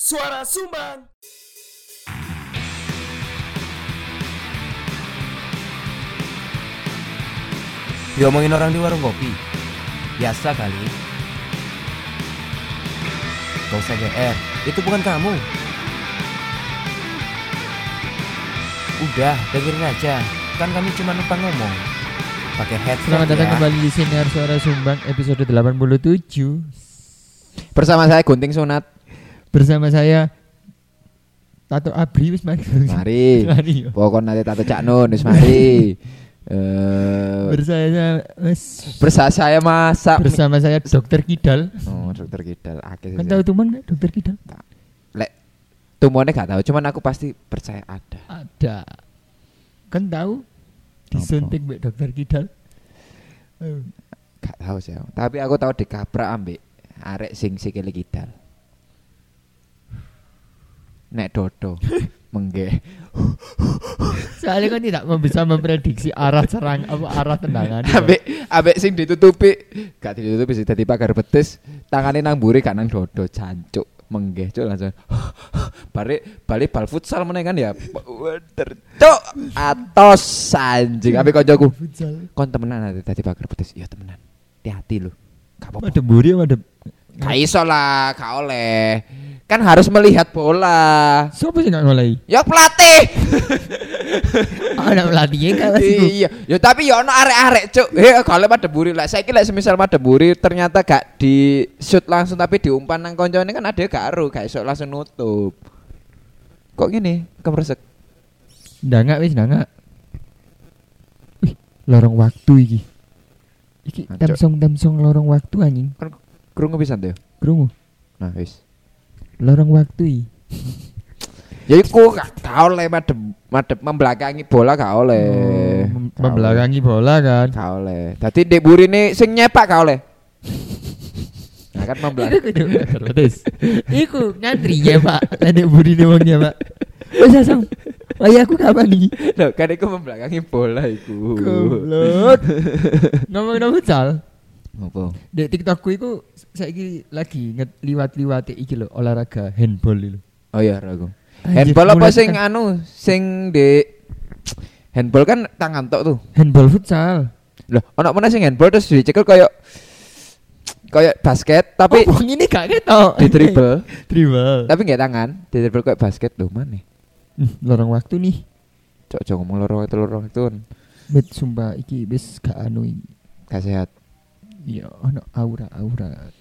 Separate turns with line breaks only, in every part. Suara Sumbang.
Diomongin orang di warung kopi Biasa kali Gak usah GR Itu bukan kamu Udah, dengerin aja Kan kami cuma numpang ngomong Pakai headset
Iya.
Selamat datang
ya.
kembali di Sinar Suara Sumbang episode 87
Bersama saya Gunting Sunat.
Bersama saya Tato Abri wis mari.
Mari.
Mari, yo.
Pokoknya nanti tato Cak Nun wis mari. Eh
Bersama saya Mas
bersama saya masak.
Bersama saya Dokter Kidal.
ya, Oh, dokter Kidal. Akeh
Kan
sih.
tahu teman Dokter Kidal?
Lek tumone gak tahu, cuman aku pasti percaya ada.
Ada. Kan tahu disuntik mbek Dokter Kidal. Eh,
Gak tahu sih. aku. Tapi aku tahu dikaprak ambek arek sing sikile Kidal. Nek Dodo mengge.
Soalnya kan tidak bisa memprediksi arah serang apa arah tendangan.
Ambek ambek sing ditutupi, gak ditutupi sih dadi pagar betis, tangane nang mburi gak nang dodo jancuk. Menggeh cuk langsung. Balik balik bal futsal meneh kan ya. Wader cuk atos anjing ambek kancaku.
Futsal.
Kon temenan nanti dadi pagar betis. Iya temenan. Hati-hati lu. Gak apa-apa.
Madep mburi madep.
Gak iso lah, gak oleh. Kan harus melihat bola.
Sopo sih nggak ngolei?
Ya pelatih.
Ada pelatihnya kan masih.
iya ya tapi ya ono arek-arek cuk eh kalau Madeburi lah saya kira semisal Madeburi ternyata gak di shoot langsung tapi diumpan nang koncone kan ada gak aru gak iso langsung nutup kok gini kemeresek
Ndangak wis ndangak. Wih, lorong waktu iki. Iki
Ancok.
tamsong-tamsong lorong waktu anjing.
krungu pisan tuh
Krungu.
nah wis
Lorong waktu iki.
ya iku gak gak oleh madep madep membelakangi bola gak oleh
Oh, mem-
Gak
membelakangi bola
oleh.
kan.
gak oleh tadi Dek Buri nih sing nyepak gak oleh nah kan membelakang
Iku ngantri ya Pak. Tadi burine wong ya Pak. Wes asam. Wah, aku kapan iki?
Loh, kan iku membelakangi bola iku
Goblok. Ngomong-ngomong futsal,
apa
di TikTokku iku saiki lagi nge- liwat-liwati iki lho olahraga handball iki lho.
Oh iya, ragu.
Anjir,
Handball apa
mulai kan
sing
tekan-
anu sing di handball kan tangan tok tuh.
Handball futsal.
Loh, ono mana sing handball terus dicekel kayak kayak basket tapi
Oh, Iya. wong ini gak ketok.
di dribble,
Dribble.
tapi nggak tangan, di dribble kayak basket loh mana?
Hmm, lorong waktu nih.
Cok cok ngomong lorong itu lorong itu kan.
Bet sumpah iki wis gak anu iki.
gak sehat.
Ya ono aura-aura.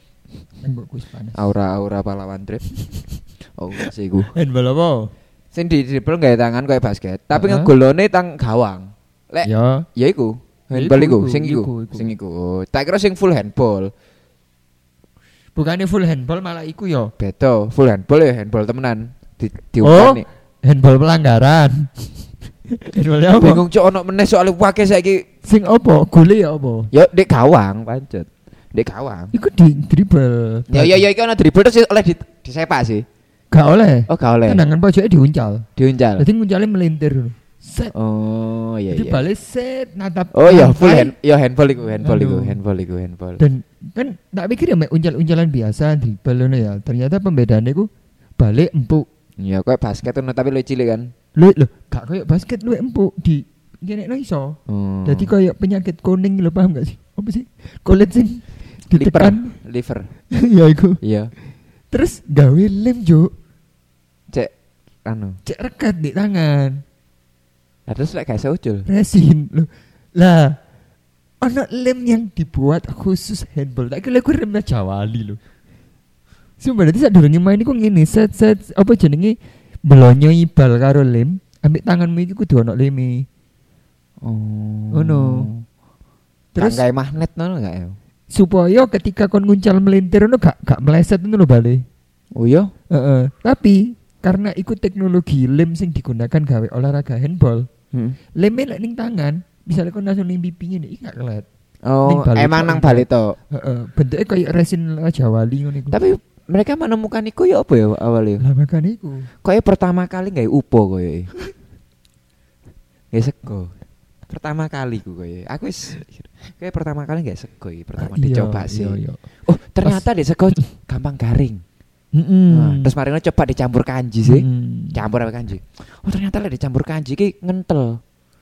Tembokku wis panas.
Aura aura pahlawan trip. oh gak sih gue.
Handball apa?
Sing di dribble nggak tangan kayak basket, tapi
Heeh.
ngegolone tang gawang. Lek
Ya,
Ya iku.
Ya
Handball
iku,
iku,
iku,
sing iku,
iku, iku.
sing iku. Oh, Tak kira sing full handball.
bukannya full handball malah iku ya, yo.
Beto, full handball ya handball temenan. Di
Oh.
diumpan nih.
Handball pelanggaran. handball apa?
Bingung cok ono meneh soalnya wake saiki.
Sing apa? Gule ya apa?
Ya dek gawang pancet. Dek gawang.
Iku di dribble.
Ya ya ya iki ono dribble terus oleh di disepak sih.
Gak oleh.
Oh gak oleh.
Tendangan pojoknya diuncal.
Diuncal.
Jadi nguncalnya melintir dulu. Set.
Oh iya
Jadi
iya.
balik set natap.
Oh iya full hand
lantai.
ya handball iku, handball iku,
Aduh.
handball iku, handball.
dan kan tak pikir ya mek uncal-uncalan biasa di balonnya ya ternyata pembedaannya ku balik empuk
Ya kok basket ono tapi lu cilik kan.
lu lo gak kayak basket lu empuk di gini no iso
Oh.
jadi kayak penyakit kuning lo paham gak sih apa sih kulit sing
liver,
ditekan
liver.
ya iku
Iya.
terus gawe lem jo
Cek anu.
cek rekat di tangan
Lah terus lek gak iso ucul.
resin lo lah ono lem yang dibuat khusus handball tak kira aku remnya jawali lo Sumpah berarti saat durungnya main iku ngene set set apa jenenge blonyoi bal karo lem ambek tanganmu iki kudu ono e. leme
Oh.
Ono.
Terus
terus
kayak magnet ngono gak ya?
supaya ketika kon nguncal melintir ono gak gak meleset ngono lho bali
Oh iya.
Heeh. tapi karena ikut teknologi lem sing digunakan gawe olahraga handball
Hmm.
lemnya lek ning tangan misalnya kon langsung ning pipinya nih gak kelet Ning
Oh,
Bali
emang
tok.
nang Bali tok.
Heeh, bentuknya kayak resin Raja Wali ngono iku.
Tapi mereka menemukan iku ya apa ya awalnya?
lah makan iku.
Kayaknya pertama kali nggak upo koyo. Nggak sego. Pertama kali ku koyo. Aku wis kayak Ah, pertama kali nggak sego iki, pertama
Iya,
dicoba
iya,
sih.
iya.
Oh, ternyata di sego gampang garing.
Mm-mm.
Nah, terus marino coba dicampur kanji sih.
Mm.
Campur apa kanji? Oh, ternyata lek dicampur kanji ki ngentel.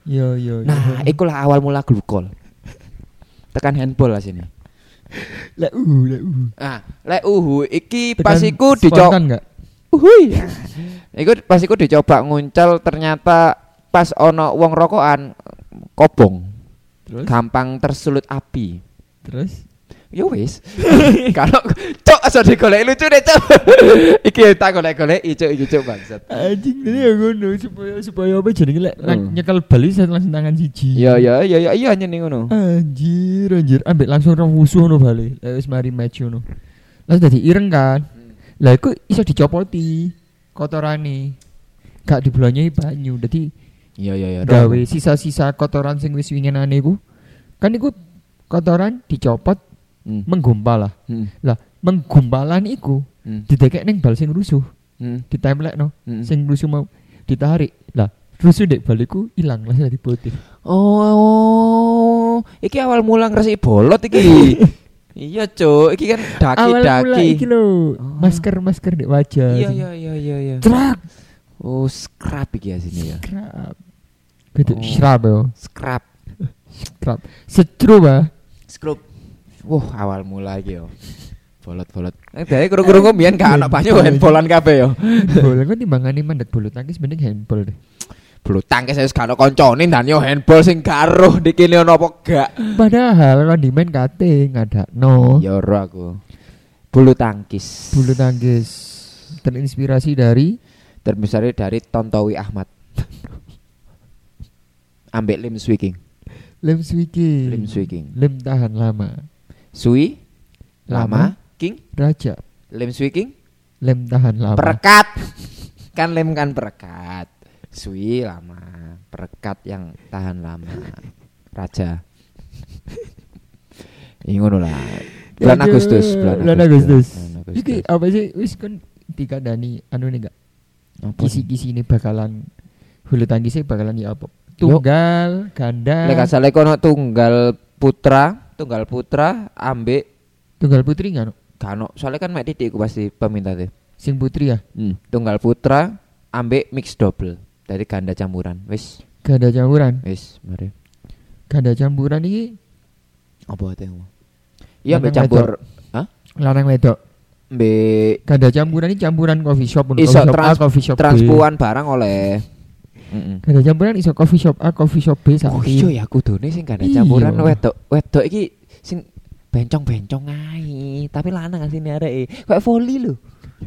Yo yo. yo.
Nah, ikulah awal mula glukol. Tekan handball lah sini.
Lah, uh, lah, uh.
Nah, Ah, lek uhu iki
Tekan
pas iku
spontan
dicoba.
nggak?
Uhuy. iku pas iku dicoba nguncel ternyata pas ono wong rokokan kobong,
Terus?
gampang tersulut api.
Terus?
Ya wis. Kalau cok aso digolek lucu deh cok. iki tak golek-golek cok iki cok bangsat.
Anjing tadi ya ngono supaya supaya apa jenenge lek
Hmm.
nang- nyekel bali saya langsung tangan siji.
Ya ya ya ya iya nyeneng ngono.
Anjir, anjir, ambek langsung rong wusuh ngono bali. Lek wis mari match ngono. Langsung dadi ireng kan. Lah iku iso dicopoti kotorane. Gak dibelonyi banyu. Dadi
Iya iya iya.
gawe sisa-sisa kotoran sing wis winginane iku. Kan iku kotoran dicopot
Hmm.
menggumpal lah.
Hmm.
Lah, menggumpalan iku
Hmm.
didekek ning bal sing rusuh,
Hmm.
ditemplekno.
Hmm.
sing rusuh mau ditarik lah rusuh dek baliku hilang lah jadi putih
Oh, iki awal mula ngresiki bolot iki. iya, Cuk. Iki kan
mula iki
daki-daki.
lo
Oh.
masker masker dek wajah
Iya,
sing-
iya, iya, iya, iya.
cerak
Oh, scrap iki asine ya.
kerap gitu
Oh.
serap yo
Scrap.
kerap setru bah
Scrub. Wah, awal mula iki yo. Bolot-bolot. Eh, dhewe kurung-kurung mbiyen gak ana banyu handbolan kabeh yo.
boleh kan timbangan ini mandat bulu tangkis mending handball deh
Bulu tangkis wis gak ana koncone dan yo handball sing karo dikene ono apa gak.
padahal kan dimain kate ngada no
Ya ora aku. Bulu tangkis.
Oh. bulu tangkis terinspirasi dari
terbesar dari Tontowi Ahmad. Ambek Lim Swee King.
lem swiki
Lim Swee King.
lem tahan lama
Sui lama
Lama.
King
raja
Lim Swee King
lem tahan lama
perekat. Kan lem kan perekat. Sui lama perekat yang tahan lama. Raja. Ingono lah. Bulan
Aduh,
Agustus, bulan
bulan
Agustus.
Agustus.
Bulan Agustus.
Iki apa sih wis kan tiga dani anu nih gak
Apa nih?
kisi-kisi ini bakalan bulu tangkisnya bakalan ya apa? Tunggal, ganda,
Lek gak salah iku ono tunggal putra, tunggal putra ambek
tunggal putri nggak? no?
Kano, soalnya kan Mek Titik iku pasti peminta deh.
Sing putri ya,
Hmm. Tunggal putra ambek mix double dari ganda campuran. Wis,
ganda campuran,
wis, mari.
ganda campuran ini
Apa ate kamu? Iya, ambek
Menang
campur. Hah?
larang wedok.
Ambek
Ganda campuran ini campuran coffee shop, untuk
Iso
coffee shop
trans-
A, coffee shop B.
transpuan barang oleh Heeh.
Ganda campuran iso coffee shop A, coffee shop B
Oh
sapi.
iya ya kudune sing ganda
Iya.
campuran wedok. Wedok iki sing bencong-bencong ae, tapi lanang asine areke. Kayak voli lho.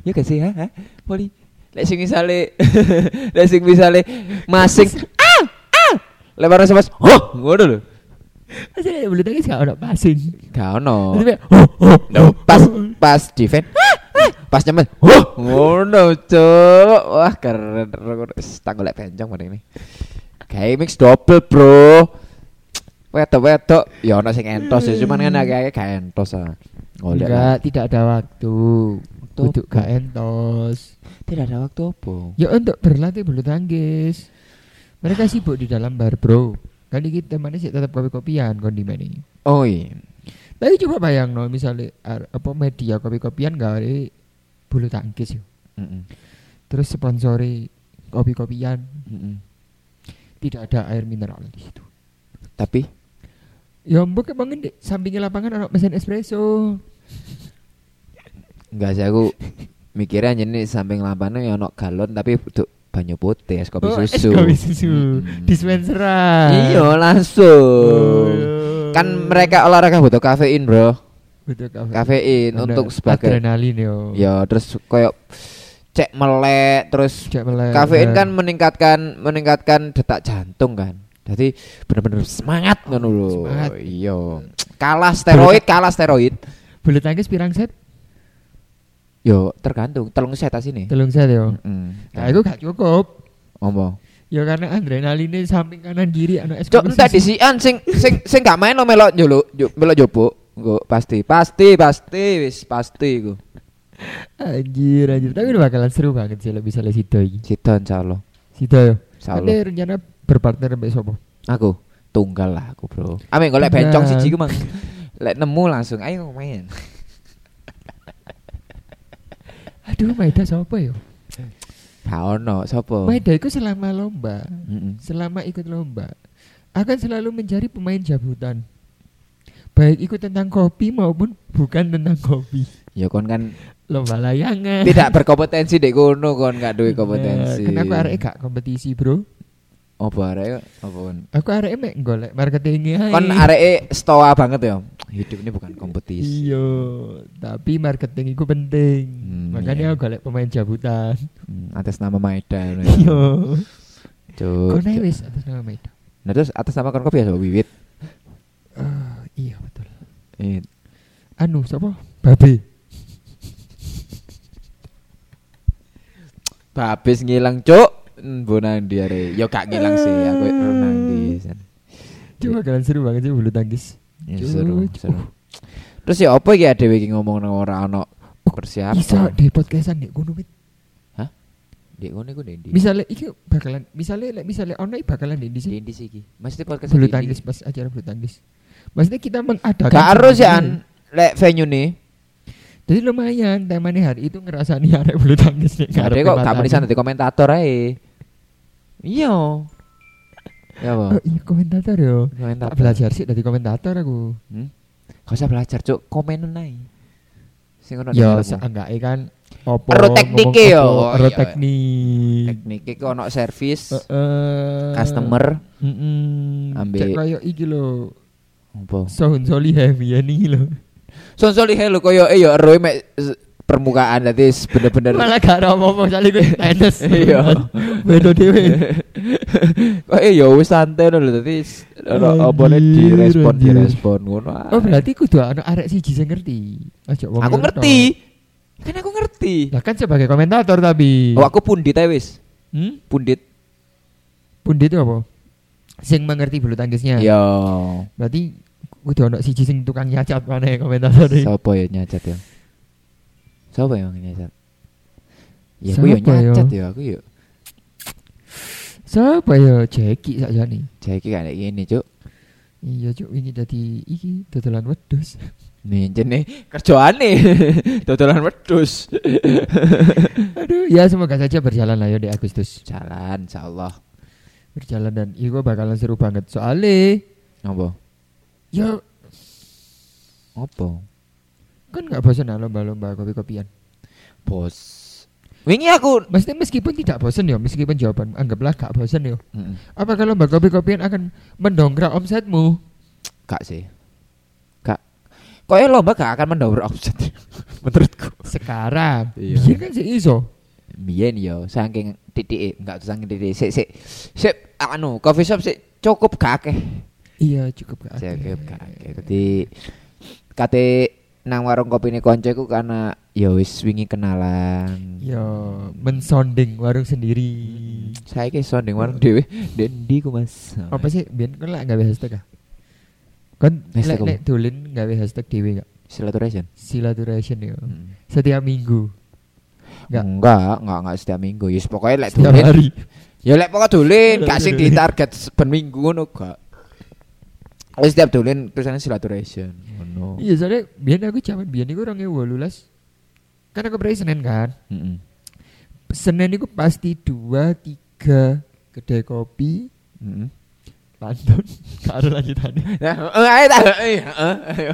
Ya gak sih, ha? ha? Voli. Lek sing misale lek sing misale masing ah ah lebar mas oh ngono lho.
Asli bulu tangkis gak ada pasing.
Gak ono.
Tapi kayak, oh, oh,
Loh, pas pas defend pas nyemen huh ngono cuk wah keren tak golek bencong mari ini kayak mix double bro wedok wedok ya ono sing entos ya cuman kan agak-agak gak entos ah golek
Hmm. Oh, Enggak, tidak ada waktu.
Waktu
Untuk
apa?
gak entos.
tidak ada waktu apa
Ya untuk berlatih bulu tangkis. Mereka sibuk di dalam bar, Bro. Kan iki temannya sih tetap kopi-kopian kondimen ini.
oh iya
Tapi coba bayang no, misalnya ar- apa media kopi-kopian gawe bulu tangkis yo.
Mm-mm.
Terus sponsori kopi-kopian
Mm-mm.
tidak ada air mineral di situ.
tapi
Ya mbok bangun di sampingnya lapangan anak mesin espresso.
enggak sih aku mikirnya jenis samping lampane ya ono galon tapi untuk banyu putih es kopi
Oh, es
susu
kopi susu.
Mm-mm.
Dispenseran.
iya
Oh,
langsung
iya.
kan mereka olahraga butuh kafein bro
Betul, kafe.
kafein
Ada
untuk sebagai
adrenalin yo.
ya terus koyok cek melek terus
Cek melek.
kafein kan meningkatkan meningkatkan detak jantung kan jadi bener-bener semangat ngono lho
Semangat.
iya kalah steroid kalah steroid
bulu tangkis pirang set?
yo tergantung telung set sini
Telung set yo. Nah, itu
Heeh.
gak cukup.
ombo
Ya karena adrenalinnya samping kanan kiri anak es
Cok
kopi
entek
susu.
disian sing sing sing gak main lo melok njuluk ju- melok jopo. Nggo pasti pasti pasti wis pasti iku.
Anjir anjir. Tapi udah bakalan seru banget sih lebih salah situ iki.
Cita insyaallah.
Situ yo. Ada
Insyaallah.
rencana berpartner mbek sapa?
Aku tunggal lah aku, Bro. Ame golek
Tunggal.
bencong siji ku mang. Lek nemu langsung ayo main.
Aduh, Maeda siapa ya?
Gak ono sapa?
Maeda itu selama lomba,
Heeh.
selama ikut lomba, akan selalu mencari pemain jabutan. Baik ikut tentang kopi maupun bukan tentang kopi.
Ya kon kan
Lomba layangan.
tidak berkompetensi dek kono kon gak duwe
Bener.
kompetensi.
Kenapa arek e gak kompetisi, Bro?
Opo arek opo kon?
Aku arek mek golek marketingnya.
Kon areke stoa banget ya. Hidup ini bukan kompetisi.
Iya, tapi marketing itu penting.
Hmm, iya.
Makanya aku golek pemain jabutan.
Hmm, atas nama Maeda. ngono ya.
Iya.
Cuk.
Kau
iya.
naik wis atas nama Maeda.
Nah terus atas nama kon kopi ya sapa wiwit.
Eh, iya betul.
Eh,
Anu siapa? Babe.
Babis ngilang, Cuk. Mbok nang ndi arek? Ya gak ngilang sih, aku renang di sana.
Coba
Iya.
kalian seru banget sih bulu tangkis.
Ya,
Cuk,
seru,
cuk.
seru. Terus ya apa ya dhewe iki ngomong nang ora ono persiapan.
Oh, Bisa di podcastan nih gunung Mit.
Dek ngono iku ndek ndi?
Misalnya iki bakalan misalnya lek misalnya ono iki bakalan di di
Ndek
sini
ndi sih iki? Mesti podcast ndek
bulu
ndi?
tangkis pas acara bulu tangkis. Maksudnya kita mengadakan
Gak harus ya
sendiri.
An. lek venue nih.
Jadi lumayan temanya hari itu ngerasani arek bulu tangkis nih.
Gak ada kok gak menisan dadi komentator ae. Iya. Ya
Oh
apa?
iya komentator yo.
Komentator.
Tak belajar sih dari komentator aku.
Hmm? Gak usah belajar, Cuk. Komen ae. Sing ono
Ya
nang karepmu.
seenggaknya kan opo
Ero teknike
ngomong
yo.
opo,
Iya,
ero
iya.
teknik.
teknik iki ono servis
Eh, Heeh.
customer
Mm-mm.
Ambil-
Cek koyo iki lho.
opo?
Sohun Solihah ya nih lho.
Sonsoli hello koyo eh yo eroe mek s- permukaan dadi s- bener-bener
Malah gak ada apa-apa soalnya gue tenis.
Iya.
Bedo dhewe.
Kok eh yo wis santai ngono lho dadi s- ono
Anjir,
opone direspon
anjir.
direspon ngono. ae.
Oh berarti kudu ana arek siji sing ngerti. Ojo wong
Aku
loro
ngerti.
tok.
Kan aku ngerti.
Lah kan sebagai komentator tapi.
Oh aku pundit ae wis.
Hmm?
Pundit.
Pundit itu apa? Sing mengerti bulu tangkisnya.
Yo.
Berarti kudu ana siji sing tukang nyacat maneh komentator iki.
Sopo ya nyacat ya? Sopo yang nyacat? Ya aku yo
Sopo ya?
nyacat ya aku yo.
Siapa ya Jeki sakjane?
Jaiki kayak gini, Cuk.
Iya cuk wingi dadi iki dodolan wedhus.
Nih jene kerjaane dodolan wedhus.
Aduh, ya semoga saja berjalan lah ya di Agustus.
Jalan insyaallah.
Berjalan dan iku bakalan seru banget soalnya
Ngopo?
ya
Ngopo?
kan nggak bosan lah lomba-lomba kopi-kopian.
Bos. Wingi aku
Maksudnya meskipun tidak bosan ya, meskipun jawaban anggaplah gak bosan ya.
Mm-mm.
Apa kalau lomba kopi-kopian akan mendongkrak omsetmu?
Kak sih. Kak. Kok lomba gak akan mendobrak offset menurutku.
Sekarang,
Iya.
biar kan sih iso.
Biyen yo saking titik enggak usah saking titik sik sik sik anu coffee shop sik cukup gak akeh.
Iya cukup gak. akeh.
Cukup gak akeh. Dadi kate nang warung kopi ini konco iku karena ya wis wingi kenalan.
Ya, mensonding warung sendiri.
Saya ke sounding warung dewe Dendi ku mas
Apa sih? Biar kan lah nggak hashtag ah. Kan
Hashtag
lek
apa?
lek dolin nggak hashtag dewe gak?
Silaturahmi
Silaturahmi ya. Setiap minggu. Enggak.
Enggak Enggak Enggak setiap minggu Yus pokoknya lek
Setiap
dolin
hari.
Ya lek pokoknya dolin Gak sing di target Ben minggu ngono gak Wis setiap dolin Tulisannya silaturahmi Ngono
Iya soalnya biar aku zaman biar aku orangnya walulas. Kan aku berarti Senin kan.
Mm-mm.
Senin itu pasti dua tiga kedai kopi
Mm-mm.
pantun gak ada lanjutannya
Nah, eh, ayo, ayo, ayo, ayo.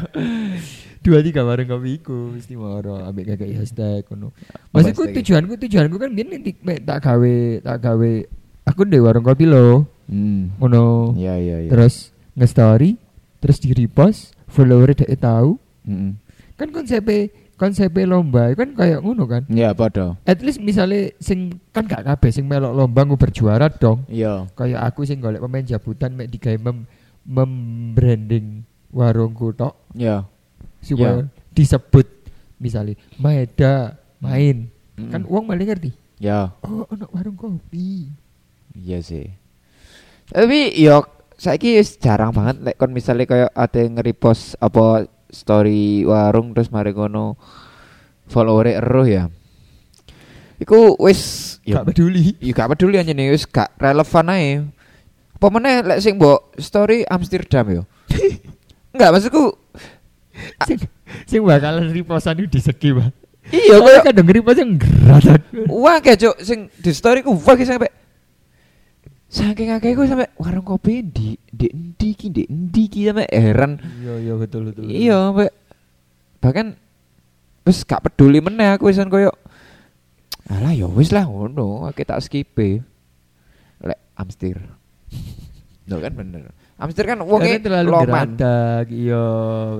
dua tiga warung kopi iku mesti moro ambek kakek hashtag kono
Ya,
maksudku
hashtag-nya?
tujuanku tujuanku kan biar nanti mek tak gawe tak gawe aku di warung kopi lo
Hmm.
kono
Iya iya iya
terus nge-story terus di repost follower dek tahu
Mm-mm.
kan konsepnya konsepnya lomba itu kan kayak ngono kan
Iya podo
at least misalnya sing kan gak kabeh sing melok lomba ngu berjuara dong
Iya
kayak aku sing golek pemain jabutan mek digawe mem membranding warungku tok
Iya Ya.
supaya disebut misalnya Maeda main kan uang malah ngerti
Iya
oh ono warung kopi
Iya sih. Tapi yo saiki wis jarang banget lek kon misalnya kaya ada yang nge-repost apa story warung terus mari ngono follower eruh ya. Iku wis
gak peduli
yo gak peduli aja nih wis gak relevan ae. Apa meneh lek sing mbok story Amsterdam yo. Enggak maksudku
sing, sing bakalan repostan itu di segi Pak.
Iya,
Soalnya
kayak
kadang ngeri pas yang geratak.
wah kayak cok sing di story ku wah kayak sampe saking akeh ku sampe warung kopi di di endi ki di endi ki sampe heran.
Iya iya betul betul.
Iya, sampe bahkan wis gak peduli meneh aku wisan koyo alah ya wis lah ngono, aku tak skip Lek Amstir. Loh kan bener. Amstir
Karena
kan wonge
terlalu
loman.
geratak. Iya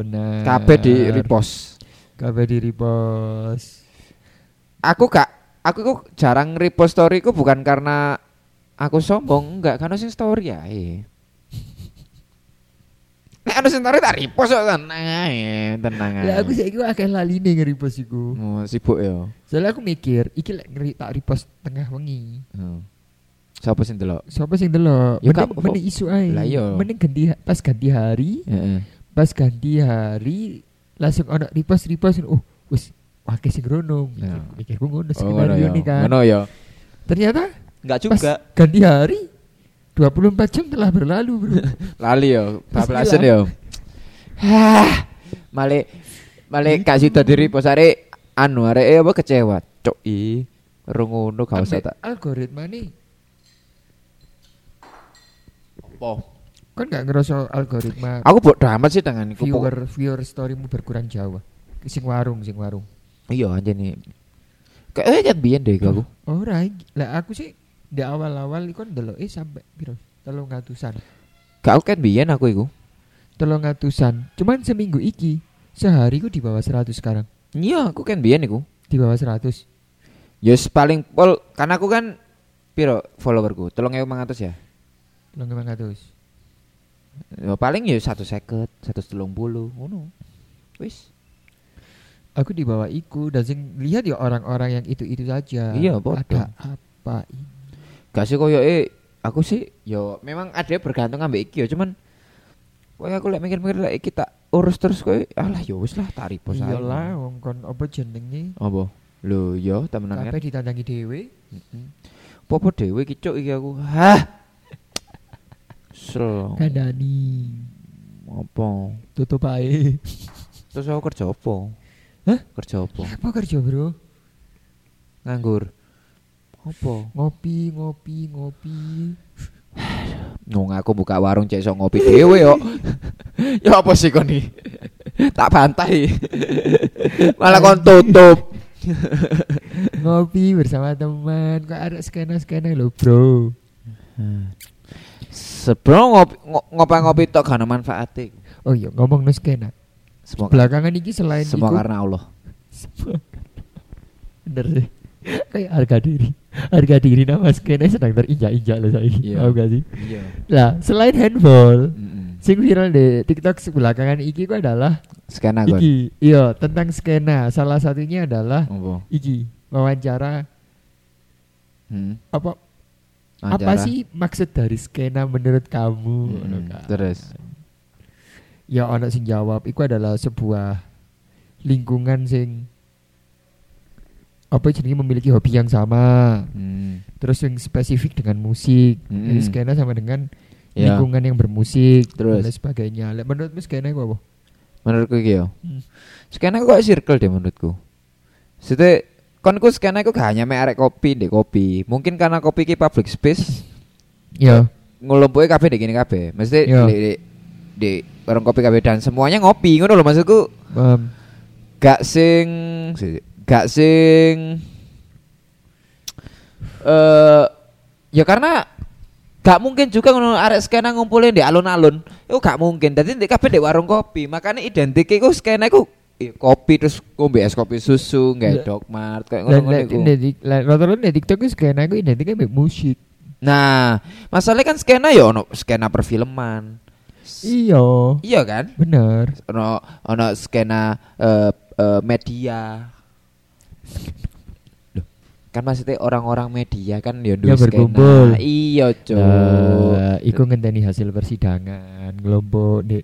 benar.
Kabeh di repost.
Kabeh di repost.
aku gak aku kok jarang repost story ku bukan karena aku sombong enggak karena sing story ya Nek ana sing story tak repost kok tenang ae, tenang ae.
Lah aku saiki kok akeh laline nge-repost iku.
Oh, sibuk ya.
Soalnya aku mikir, iki lek ngeri tak repost tengah wengi.
Hmm. Siapa sing delok?
Siapa sing delok?
Ya,
Mending,
kak,
mending isu ae.
Lah, iya.
Mending ganti pas ganti hari,
Heeh.
pas ganti hari langsung ono repost repost oh wis akeh sing rono mikir,
Ya.
mikirku ngono
Oh, ngono
skenario
ya.
nih kan.
Ngono ya.
Ternyata
Enggak
pas ganti hari 24 jam telah berlalu, Bro.
Lali ya,
Pas
bablasen
gila.
ya. Hah. Male male Ah, gak sida diri posare anu arek eh, apa kecewa. Cok i. Rungono gak
Ambek
usah tak.
algoritma nih.
Apa?
Kan gak ngerasa algoritma
Aku buat dramat sih tanganku. Pokok-
viewer viewer storymu berkurang jauh. Sing warung, sing warung.
Iya aja nih. Kayaknya biyen deh aku.
Ora, iki- lah aku sih di awal-awal iku ndelok eh sampai piro? 300-an.
Gak aku kan biyen aku iku.
300-an. Cuman seminggu iki sehari ku di bawah 100 sekarang.
Iya, aku kan biyen iku.
Di bawah 100.
Yes paling pol karena aku kan piro followerku? 3500 ya.
300.
Ya, paling ya 150, 130 ngono. Wis.
Aku di bawah iku dan sing lihat ya orang-orang yang itu-itu saja.
Iya, bodoh.
Ada apa ini?
Gak sih koyo eh aku sih ya memang ada bergantung ambek iki ya cuman koyo aku lek mikir-mikir lek iki tak urus terus koyo alah ya wis lah tak repost ae.
Iyalah wong kon apa jenenge?
Apa? Lho ya temenan kan.
Kabeh ditandangi dhewe.
Popo dhewe iki cuk iki aku. Hah. Sel.
Kandani.
Apa?
Tutup ae.
Terus aku kerja apa?
Hah?
Kerja apa?
Apa kerja, Bro?
Nganggur. Apa?
Ngopi, ngopi, ngopi.
Nung aku buka warung cek iso ngopi dhewe yo. ya apa sih kon iki? tak bantai. Malah kon tutup.
ngopi bersama teman. Kok ada skena-skena lo, Bro?
Hmm. Sebelum ngopi ngo- ngopi-ngopi tok gak ada manfaate.
Oh iya, ngomong no skena.
Semua
Belakangan iki selain
semua
iku-
karena Allah.
Semua. Bener sih. Kayak harga diri. Harga diri nama skena sedang terinjak-injak lah saya.
Iya.
Paham gak sih?
Iya.
Lah, selain handball, sing viral di TikTok sebelakangan iki ku adalah
Skena kon.
iki. Iya, tentang skena. Salah satunya adalah
Apa?
iki wawancara
Hmm.
apa apa
Wawancara. Hmm.
sih maksud dari skena menurut kamu? Ngono
Mm-mm.
kan.
Terus.
Ya ono sing jawab, iku adalah sebuah lingkungan sing apa ya, jenenge memiliki hobi yang sama.
Hmm.
Terus yang spesifik dengan musik.
Mm-mm.
Jadi skena sama dengan
Hmm. Ya.
lingkungan yang bermusik
Terus.
dan lain sebagainya. Lek menurutmu skena iku apa?
Menurutku iki yo.
Hmm.
Skena kok circle deh menurutku. Sete kon ku skena ku gak hanya mek arek kopi ndek kopi. Mungkin karena kopi ki public space
Iya.
ngelompoke kabeh ndek kene kabeh. Mesti
Iya.
di, di, di warung kopi kabeh dan semuanya ngopi ngono lho maksudku.
Paham.
Gak sing sik, gak sing eh ya karena gak mungkin juga ngono arek skena ngumpulin di alun-alun. Itu gak mungkin. Dadi ndek kabeh ndek warung kopi. Makanya identik iku skena iku eh, kopi terus ngombe es kopi
Lah.
susu, nggak dogmart kayak
Dan
ngono-ngono
lek
iku.
lek di- lek- rata-rata di TikTok itu skena iku identiknya dengan musik.
Nah, masalahnya kan skena ya ono skena perfilman. S-
Iya.
Iya kan?
Bener.
Ono ono skena eh, eh, media. Loh, kan maksudnya orang-orang media kan ya duwe
Ya, berkumpul.
skena. Iya, Cuk.
Nah, iku ngenteni hasil persidangan, ngelompok di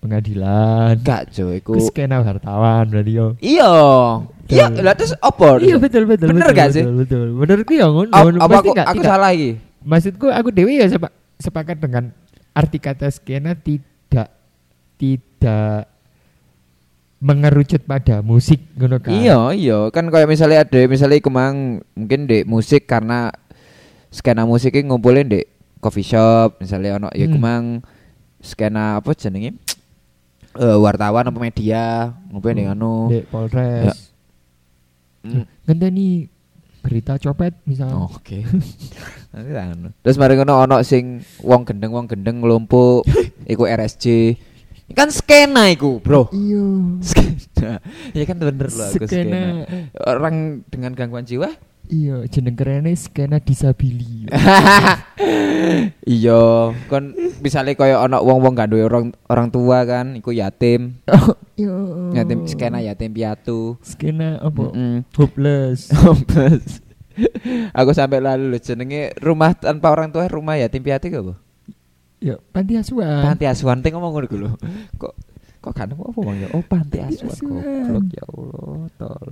pengadilan. Kan
Enggak, Cuk, iku.
Ku skena wartawan berarti yo.
Iya. Iya,
Betul.
lah terus opo?
Iya betul betul. betul,
Bener gak
betul,
sih?
Betul. Menurutku ya ngono.
Apa apa
Pasti
aku
gak-
aku
tidak.
salah iki?
Maksudku aku dewi ya sepa- sepakat dengan arti kata skena tidak tidak mengerucut pada musik ngono kan.
Iya, iya. Kan kayak misalnya ada misalnya iku mang mungkin dek musik karena skena musik iki ngumpulin dek coffee shop misalnya ono ya iku
Hmm.
mang skena apa jenenge? Eh wartawan apa media ngumpulin dek anu.
Dek Polres.
Ya. Hmm.
Ngenteni berita copet misalnya.
Oke. Nanti tak anu. Terus mari ngono ono sing wong gendeng wong gendeng ngelumpuk iku RSJ. Kan skena iku, Bro.
Iya.
Skena. ya kan bener loh aku skena.
Skena.
Orang dengan gangguan jiwa
Iya, jeneng kerennya skena disabili.
iya kon misalnya kaya ana wong-wong gak duwe orang orang tua kan iku yatim
Oh, iya.
yatim skena yatim piatu
Skena apa?
Mm-mm.
Hopeless.
Bos. aku sampai lalu lho jenenge rumah tanpa orang tua rumah yatim piatu gak bu
Ya, panti asuhan.
panti asuhan teh ngomong ngono dulu kok kok kan apa bang ya oh panti
Panti
asuhan
asuhan.
goblok ya Allah tol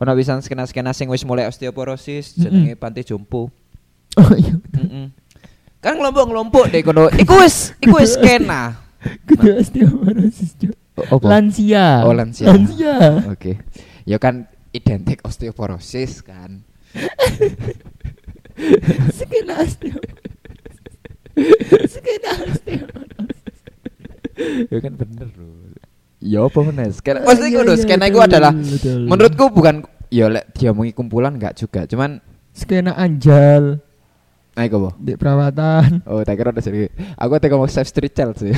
ono pisan skena-skena sing wis mulai osteoporosis jenenge panti jompo
Oh iya.
Mm-mm. kan ngelompok-ngelompok deh kono iku wis iku wis skena
Kudu osteoporosis, Cuk.
Apa?
Lansia.
Oh, lansia.
Lansia.
Oke. Ya kan identik osteoporosis kan.
skena osteoporosis. Skena osteoporosis.
ya kan bener loh. Ya apa meneh? Skena
Pasti
maksudnya ngono, skena iku adalah menurutku bukan ya lek diomongi kumpulan enggak juga, cuman
skena anjal
nah iku apa?
di perawatan.
Oh, tak kira udah serius. Aku tak ngomong Save Street Child sih.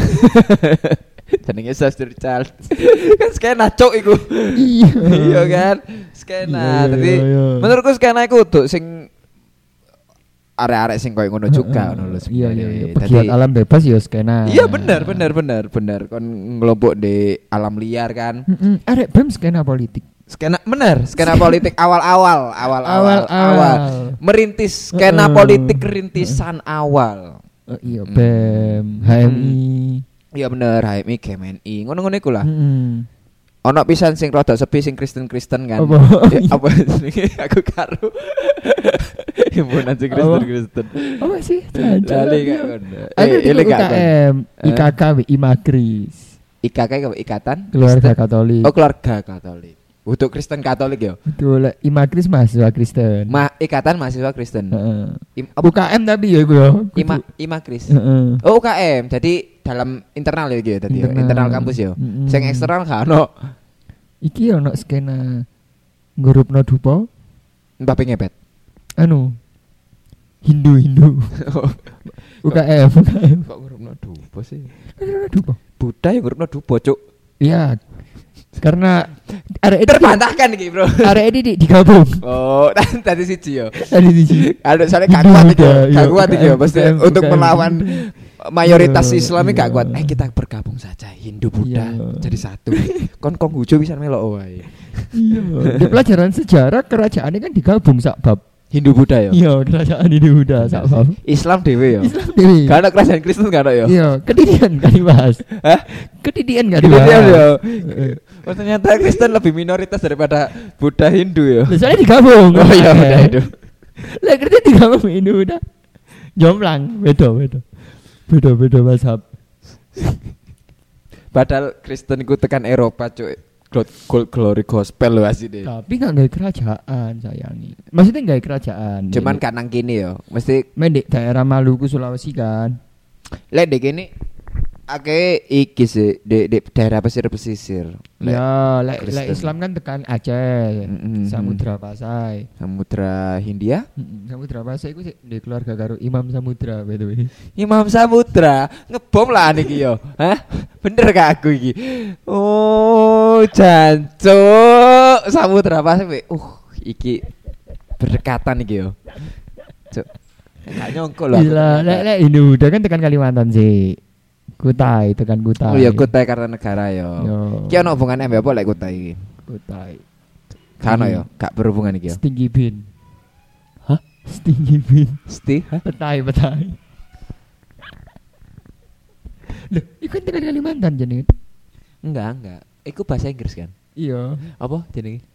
Jenenge Save Street Child. kan skena cok iku.
Iya.
iya kan?
Iya,
Skena.
iya,
Tapi
iya, iya.
menurutku skena iku tuh sing arek-arek sing koyo ngono juga ngono lho
Iya, iya,
sebenarnya.
iya.
Dadi-
Pegiat alam bebas ya skena.
Iya benar benar benar benar kon ngelompok di alam liar kan.
Mm-mm. Arek bem skena politik.
Skena benar skena politik awal-awal awal-awal
Awal-awal.
awal. Merintis skena
Heeh.
politik rintisan awal.
Oh, iya
Hmm.
bem HMI.
Iya bener HMI GMNI ngono-ngono iku
Hmm.
lah.
Mm-mm.
Ono pisan sing rada sepi sing Kristen-Kristen kan.
Apa? Iya.
Eh, apa jenenge? aku karo. Himpunan sing
Apa?
Kristen-Kristen.
Apa sih?
Lali
Jalan,
gak
iya.
kon.
Aku
Eh,
di
ini gak kon.
UKM,
Eh.
IKK, WI Magris,
IKK apa ikatan?
keluarga
Kristen?
Katolik.
Oh keluarga Katolik. Untuk Kristen Katolik ya.
Betul, I Magris mahasiswa Kristen.
Ma ikatan mahasiswa Kristen.
Heeh.
Im, apa?
UKM tapi ya gue.
Ima Ima Kris.
Heeh.
Oh UKM. Jadi dalam internal ya gitu tadi. ya? Internal,
Internal. Hmm.
kampus ya.
Mm-mm.
Sing eksternal gak ono.
Iki ya ono skena grup no dupo,
Mbappe ngepet.
anu Hindu Hindu UKM UKM
Kok ngurupno dupo sih?
Grup dupo.
Buddha yang ngurupno dupo, Cuk.
Iya, karena arek ini
Terbantahkan iki, Bro.
arek ini di- digabung
Oh, tadi siji yo.
tadi di sini.
Aduh, soalnya gak
Hindu,
kuat iki,
Buddha,
gak
iya,
kuat iki yo.
UKM,
Pasti
UKM.
untuk melawan mayoritas
Iya,
Islam ini gak
iya.
kuat. Eh kita bergabung saja Hindu Buddha
Iya.
jadi satu. Kon Konghucu bisa melo wae.
Iya, di pelajaran sejarah kerajaan ini kan digabung sak bab.
Hindu Buddha yo.
Iya, kerajaan ini udah sak bab. Kan?
Islam dewe yo.
Islam dewi.
Gak ada kerajaan Kristen gak ya? ada yo.
Iya, kedidian gak dibahas.
Hah?
Kedidian gak
Gitu
dibahas.
dia yo.
Heeh.
Oh ternyata Kristen lebih minoritas daripada Buddha Hindu ya. yo.
Lah, soalnya digabung.
Oh iya Buddha Hindu.
Lah kerja digabung Hindu udah. Jomplang, beda beda. Beda beda mazhab.
Padahal Kristen ku tekan Eropa cuy. Gold, gold glory gospel lo asli deh.
Tapi gak nggak kerajaan sayangi. Maksudnya nggak kerajaan. Main-
Cuman kanang kini yo. ya. Mesti
main di daerah Maluku Sulawesi kan.
lek dek ini ake iki sih di, di daerah pesisir pesisir.
Ya, lek lek
Kristen.
Islam kan tekan Aceh,
Mm-mm.
Samudra Pasai.
Samudra Hindia.
Mm-mm, Samudra Pasai itu sih di keluarga karo Imam Samudra by the way.
Imam Samudra ngebom lah niki yo. Hah? Bener gak aku iki? Oh, jancuk. Samudra apa sih? Uh, iki berdekatan iki yo. Cuk. Gak nyongko lho. aku
Iya,
ternyata.
lek lek Hindu udah kan tekan Kalimantan sih. Kutai, tekan Kutai.
Oh ya Kutai Kartanegara yo.
Yo.
Ki ono hubungane ambek apa lek Kutai iki?
Kutai.
Gak ono yo, gak berhubungan iki yo.
Setinggi bin.
Hah?
Setinggi bin.
Sti, hah?
Petai, petai. Loh, iku kan tekan Kalimantan jenenge.
Enggak, enggak. Iku bahasa Inggris kan.
Iya,
Apa jenenge?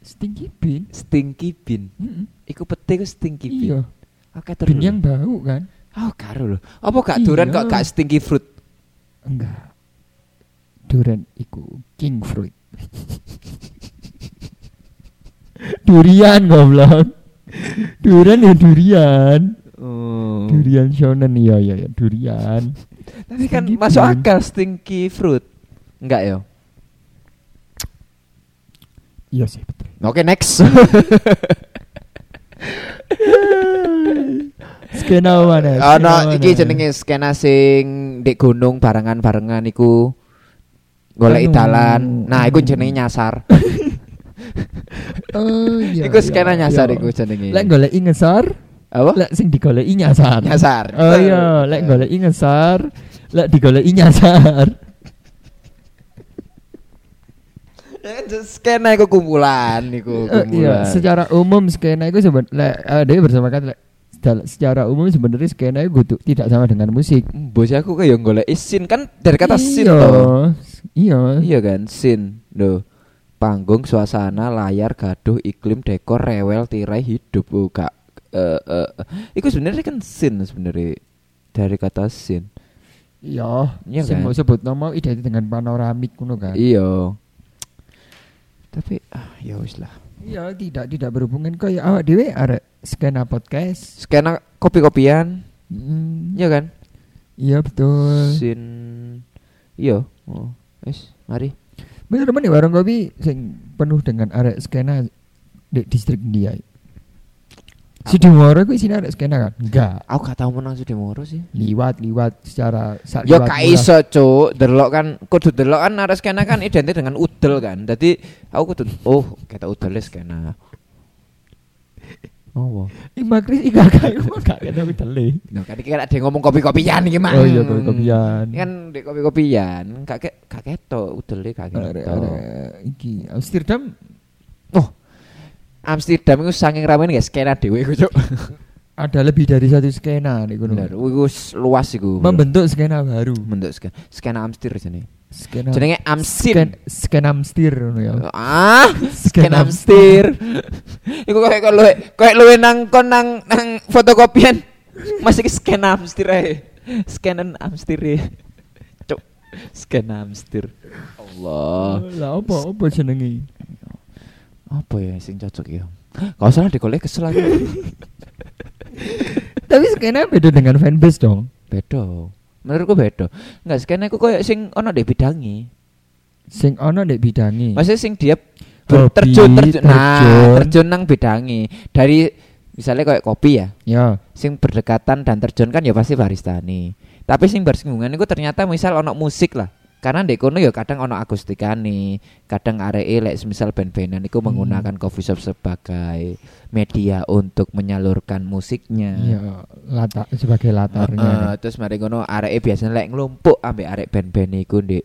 setinggi bin.
Stinky bean.
Mm-mm.
Iku pete ku stinky bean.
Iya,
Oke,
bin
terus.
yang bau kan?
Oh, karo lho. Apa gak duran
Iya.
kok gak stinky fruit?
Enggak. Duren iku king fruit. durian goblok. Durian ya durian.
Oh.
Durian shonen iya iya iya durian.
Tapi kan
Stinky
masuk
fruit.
akal stinky fruit. Enggak ya?
Iya sih betul.
Oke, next.
Skena mana? skena mana?
Ana Ah, nah, iki jenenge skena sing ndek gunung barengan-barengan iku golek
Anu.
dalan. Nah, iku jenenge nyasar.
Oh iya.
iku
iya,
skena nyasar
iya.
iku jenenge.
Lek goleki ngesor,
Apa?
lek sing digoleki nyasar.
Nyasar.
Oh iya, lek goleki ngesor, lek digoleki nyasar.
Eh, Skena iku kumpulan Kan iku
Eh, iya,
kumpulan.
secara umum skena itu seben lek eh, Dewi bersama kan lek sedal- secara umum sebenarnya skena itu kudu- tidak sama dengan musik.
Bos aku kayak golek isin kan dari kata sin
Iya,
toh.
Iya.
Iya kan, sin. Loh. Panggung, suasana, layar, gaduh, iklim, dekor, rewel, tirai, hidup. Oh, Kak. Eh, eh, eh. Iku sebenarnya kan sin sebenarnya dari kata sin.
Iya.
Iya
Sing
kan?
mau sebut nama identik dengan panoramik ngono kan.
Iya. Tapi ah, ya wis lah.
Iya, tidak tidak berhubungan kayak awak dhewe arek skena podcast.
Skena kopi-kopian,
Mm,
iya kan?
Iya betul.
Sin. Iya. Oh, wis, mari.
Bener mana warung ya, kopi sing penuh dengan arek skena di distrik dia. Sidomoro kuwi sini arek skena kan? Enggak.
Aku gak tau menang Sudimoro sih.
Liwat-liwat secara sak
Ya
liwatmu
gak
lah.
iso cuk, delok kan kudu delok kan arek skena kan identik dengan udel kan. Dadi aku kudu oh, kita udel wis skena. Oh, wow.
Ih, Makris ih gak kayak gua gak kena aku teli.
Nah, kan iki kan ada yang ngomong kopi-kopian iki mah.
Oh iya kopi-kopian.
Ini Kan di kopi-kopian, gak ke- gak ketok udele gak
Arek
ketok.
arek iki Amsterdam Oh,
Amsterdam iku saking ramen guys, skena dhewe iku cuk.
ada lebih dari satu skena nih gunung.
Bener, iku s- luas iku.
Membentuk skena baru.
bentuk skena. Skena Amstir jenenge.
Skena
Jenenge
sken,
Amsin.
skena Amstir ngono ya.
Ah,
Skena
Scan Amstir. Iku kayak kok luwe kayak luwe nang kon nang nang fotokopian. Masih ke scan Amstir ae. Scanan Amstir. e. Cuk. Scan Amstir. Allah.
Lah apa apa jenenge?
Apa ya sing cocok ya? Kalau salah digolek kesel aku.
Tapi skena beda dengan fanbase dong.
Bedo. Menurutku bedo. Enggak scan aku kayak sing ono di bidangi.
Sing ono nek bidangi.
Maksudnya sing dia
Hobi,
ber- terjun
Iya.
terjun
terjun.
nah terjun nang bidangi dari misalnya kayak kopi ya.
Ya.
sing berdekatan dan terjun kan ya pasti barista nih. Tapi sing bersinggungan itu ternyata misal ono musik lah. Karena ndek kono ya kadang ono akustikan nih, kadang aree lek misal band-bandan itu menggunakan coffee shop sebagai media untuk menyalurkan musiknya.
Ya latar sebagai
Iya. Heeh,
latarnya.
terus mari ngono aree biasanya lek nglumpuk ambek arek band-band iku ndek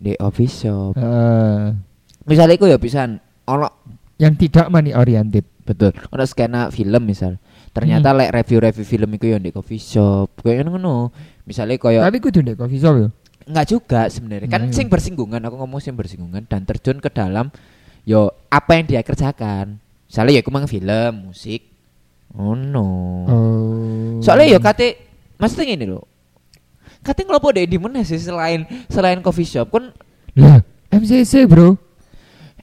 ndek coffee shop.
Eh,
Misalnya iku ya pisan ono
yang tidak money oriented.
Betul. Hmm. Ono skena film misal. Ternyata lek review-review film iku ya ndek coffee shop. Kayak ngono. Misalnya koyo
Tapi kudu nek coffee shop ya.
Enggak juga sebenarnya. Kan
Nah, iya.
sing bersinggungan aku ngomong sing bersinggungan dan terjun ke dalam yo apa yang dia kerjakan. Misalnya ya aku mang film, musik. Oh no.
Oh.
Soalnya yo kate mesti ngene lho. Kate ngelopo deh di mana sih selain selain coffee shop kan
Lah, MCC, Bro.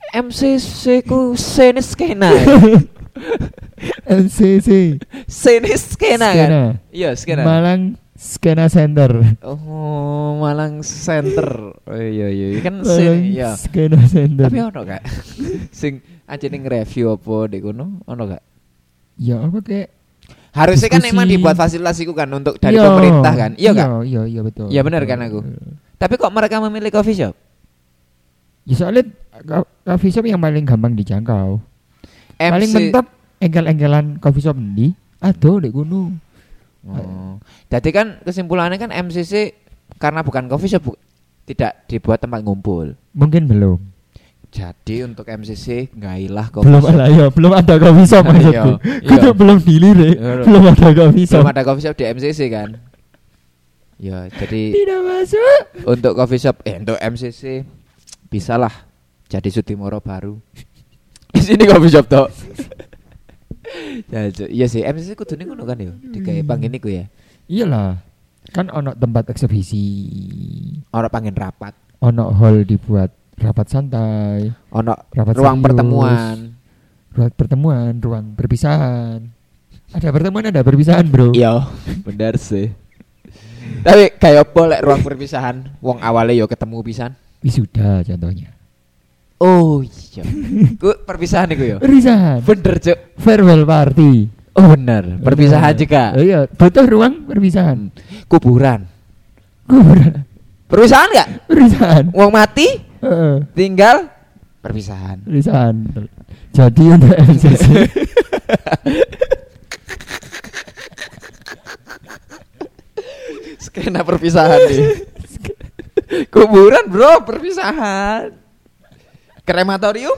MCC ku seni skena.
MCC.
seni skena kan. Iya, skena.
Malang Skena Center.
Oh, Malang Center. Oh iya iya iya. kan
Malang
seni ya.
Skena Center.
Tapi ono gak? sing anjene nge-review apa di kono ono gak?
Ya apa kayak
Harusnya kan
Diskusi.
emang dibuat fasilitasi iku kan untuk dari
Iya.
pemerintah kan. Iya
Iya,
gak?
iya, iya betul.
Iya, bener kan aku? Tapi kok mereka memilih coffee shop?
Ya soalnya ka- coffee shop yang paling gampang dijangkau.
MC.
Paling mentok engkel-engkelan coffee shop endi? Aduh, di gunung.
Oh. Jadi kan kesimpulannya kan MCC karena bukan coffee shop bu- tidak dibuat tempat ngumpul.
Mungkin belum.
Jadi untuk MCC ngailah coffee
belum
shop.
ada ya, belum ada coffee shop
Iya,
maksudku.
iya.
Kudu belum dilirik,
Iya.
belum ada coffee shop.
Belum ada coffee shop di MCC kan. ya, jadi
Tidak masuk.
untuk coffee shop eh untuk MCC bisalah jadi Sudimoro baru di sini coffee shop toh ya cu- iya sih MCC kudu nih ngono kan ya digawe
Hmm.
panggen iku ya
Iyalah. Kan ono tempat eksebisi,
orang panggen rapat
ono hall dibuat rapat santai,
Ono
rapat
ruang
serius,
pertemuan.
ruang pertemuan, ruang perpisahan. Ada pertemuan, ada perpisahan, Bro.
Iya, bener sih. Tapi kayak apa lek ruang perpisahan wong awale yo ketemu pisan.
Wisuda contohnya.
Oh iya. Ku perpisahan iku
Iya.
yo.
Perpisahan,
Bener, Cuk.
farewell party.
Oh bener, perpisahan
Bener.
juga.
Oh, Iya, butuh ruang perpisahan.
Kuburan. Hmm.
Kuburan.
Perpisahan enggak?
Perpisahan.
Wong mati
Heeh.
tinggal perpisahan.
Perpisahan. Jadi untuk MCC.
Skena perpisahan nih. Kuburan, Bro, perpisahan. Krematorium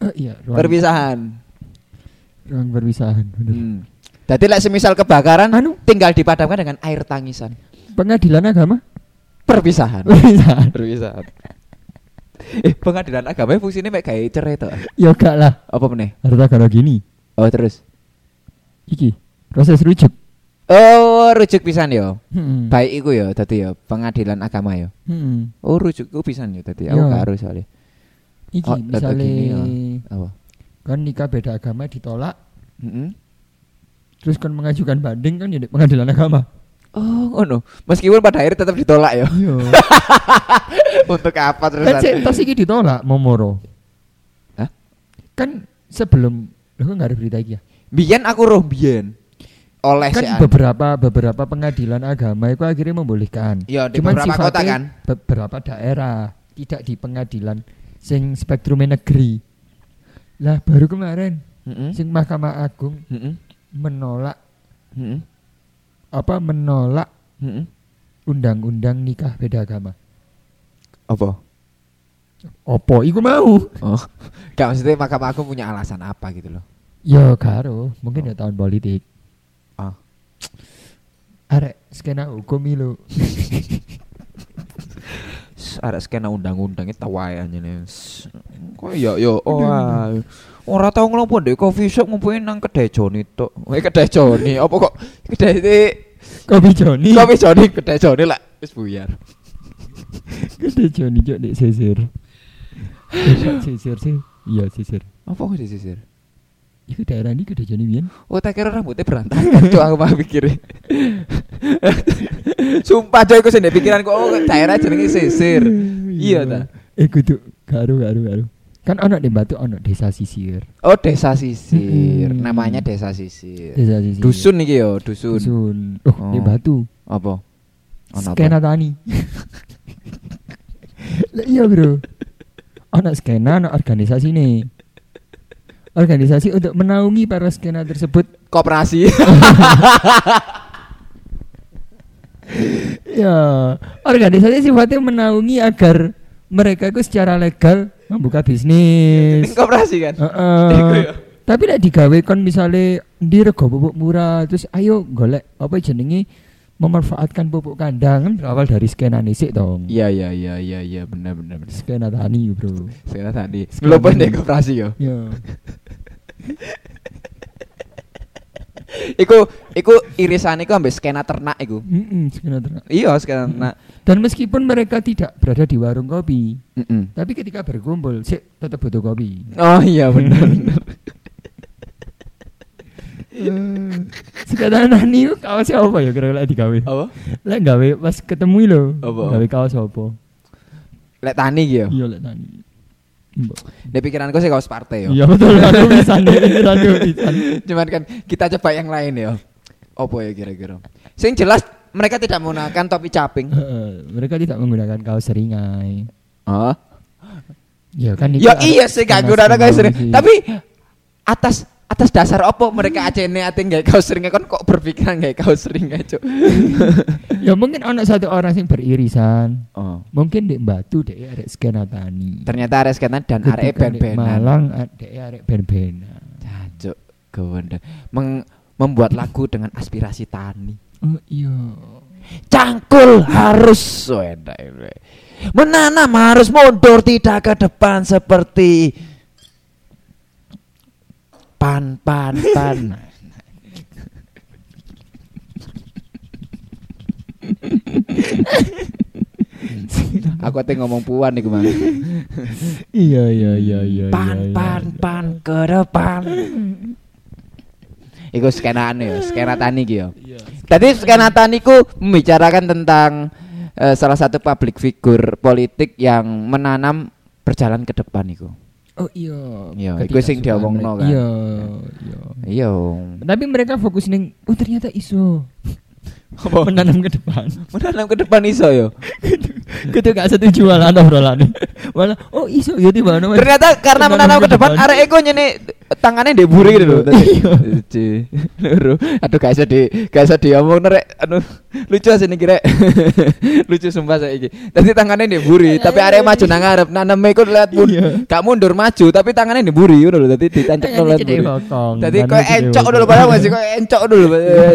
Oh, iya, ruang,
perpisahan.
ruang perpisahan. bener.
Hmm. Jadi lek semisal kebakaran
Anu?
tinggal dipadamkan dengan air tangisan.
Pengadilan agama?
Perpisahan.
Perpisahan.
Perpisahan. eh, pengadilan agama fungsinya mek kayak cerai toh.
Ya gak lah.
Apa meneh?
Harta kalau gini.
Oh, terus.
Iki proses rujuk.
Oh, rujuk pisan yo.
Hmm.
Baik iku yo tadi yo pengadilan agama yo.
Hmm.
Oh, rujuk iku pisan yo tadi. Aku
Yo.
gak harus soalnya.
Iki
Oh, tak
misalnya
begini, ya. Apa?
kan nikah beda agama ditolak,
Mm-mm.
terus kan mengajukan banding kan jadi pengadilan agama.
Oh, ngono. Meskipun pada akhirnya tetap ditolak yo.
Iya.
Untuk apa terus?
kan sih tas iki ditolak momoro.
Hah?
Kan sebelum Loh, kok nggak ada berita iki ya?
Biyen aku roh biyen. Oleh
Kan
sean.
beberapa beberapa pengadilan agama itu akhirnya membolehkan.
Iya, di
Cuman
beberapa kota
sifatnya
kan?
Beberapa daerah, tidak di pengadilan sing spektrumnya negeri. Lah baru kemarin
Mm-mm.
sing Mahkamah Agung
Mm-mm.
menolak
Mm-mm.
apa menolak
Mm-mm.
undang-undang nikah beda agama.
Apa?
Opo iku mau?
Oh, gak maksudnya mahkamah aku punya alasan apa gitu loh.
Ya karo, mungkin ya tahun politik.
Ah.
Arek skena hukum ilu.
S- Ada skena undang-undangnya tawai aja nih. S- Kok ya ya oh. ayo. Ora tau ngelopo ndek coffee shop ngumpulin nang kedai Joni tok. Weh kedai Joni apa kok kedai
Kopi Joni.
coffee Joni kedai Joni lah wis buyar.
Gede Joni jok dek sisir. Dek sisir sih. Iya sisir.
Apa kok disisir?
Iku daerah ini gede Joni biyen.
Oh tak kira rambutnya berantakan Cuk aku mah pikirin Sumpah coy aku sendiri pikiran kok oh, daerah jenenge sisir Iya ta
Eh kudu karo karo karo. Kan ana di Batu ana desa sisir.
Oh desa sisir
Mm-mm.
Namanya desa sisir
Desa sisir.
Iya. Dusun iki yo, dusun.
Dusun. Oh,
Oh.
di Batu.
Apa? Ono apa?
skena tani. Lah iya, Bro. Ana skena, ana organisasi nih. Organisasi untuk menaungi para skena tersebut.
Koperasi.
Ya, organisasi sifatnya menaungi agar mereka itu secara legal membuka bisnis.
Koperasi kan. Iku
Heeh.
ya.
Tapi nek digawe kon misale ndi rego pupuk murah, terus ayo golek apa jenenge memanfaatkan pupuk kandang kan berawal dari skena nisik dong.
Iya iya iya iya iya benar benar benar.
Skena tani, Bro.
Sekarang tadi.
Sekarang
Lo pun
tadi.
deh koperasi yo.
Ya.
Iku iku irisan iku ambek skena ternak iku.
Mm-mm, skena ternak.
Iya skena ternak.
Dan meskipun mereka tidak berada di warung kopi,
Mm-mm.
tapi ketika berkumpul sih tetap butuh kopi.
Oh iya benar benar. Eh.
Sekarang nani kaos apa ya kira-kira digawe?
Apa?
Lek gawe pas ketemu lo,
Apa?
gawe kaos apa?
Lek tani iki yo.
Iya lek nani. Mbok.
Nek pikiranku sih kaos partai yo.
Iya betul aku bisa nih, aku bisa.
Cuman kan kita coba yang lain yo. Apa ya kira-kira? Sing jelas mereka tidak menggunakan topi caping.
Heeh, Mereka tidak menggunakan kaos seringai.
Oh.
Ya kan
Ya iya sih gak
aku
guna guys sering. Tapi atas atas dasar opo mereka acene ate gak kau sering kan kok berpikiran gak kau sering aja.
ya mungkin anak satu orang sing beririsan.
Oh.
Mungkin di Batu dek arek skena tani.
Ternyata arek skenan dan arek
Ketika di
ben-benan.
Malang dek arek ben-benan.
Jancuk gawendeng. Meng- membuat lagu dengan aspirasi tani.
Oh iya.
Cangkul harus Wedah, wedah. Menanam harus mundur tidak ke depan seperti pan pan pan. Aku ate ngomong puan iku mang.
Iya iya iya iya.
Pan
iya,
pan
iya.
pan ke depan. Iku skenaan ya, skena tani iki ya. Tadi skena tani ku membicarakan tentang eh, salah satu public figure politik yang menanam berjalan ke depan iku.
Oh iya.
Iya,
Ketika
iku sing
soal
diomongno
mereka-
kan.
Iya iya.
Iya.
Tapi mereka fokus neng oh ternyata iso. Menanam ke depan.
Menanam ke depan iso ya? yo.
Kita gak setuju malah obrolan. Malah oh iso ya tiba
Ternyata karena menanam ke depan arek iku nyene tangannya deburi gitu loh. tadi.
Iya.
Ci. Loro. Aduh gak bisa di gak bisa diomong rek. Aduh lucu sini kira. lucu sumpah saya iki. Tadi tangannya deburi tapi arek maju nang ngarep naneme iku lihat pun
Iya.
gak mundur maju tapi tangannya deburi ngono lho dadi ditancap
Tangannya
nolak.
jadi bokong,
Dadi
tangannya
kok
jadi
encok
bokong.
dulu padahal masih kok encok dulu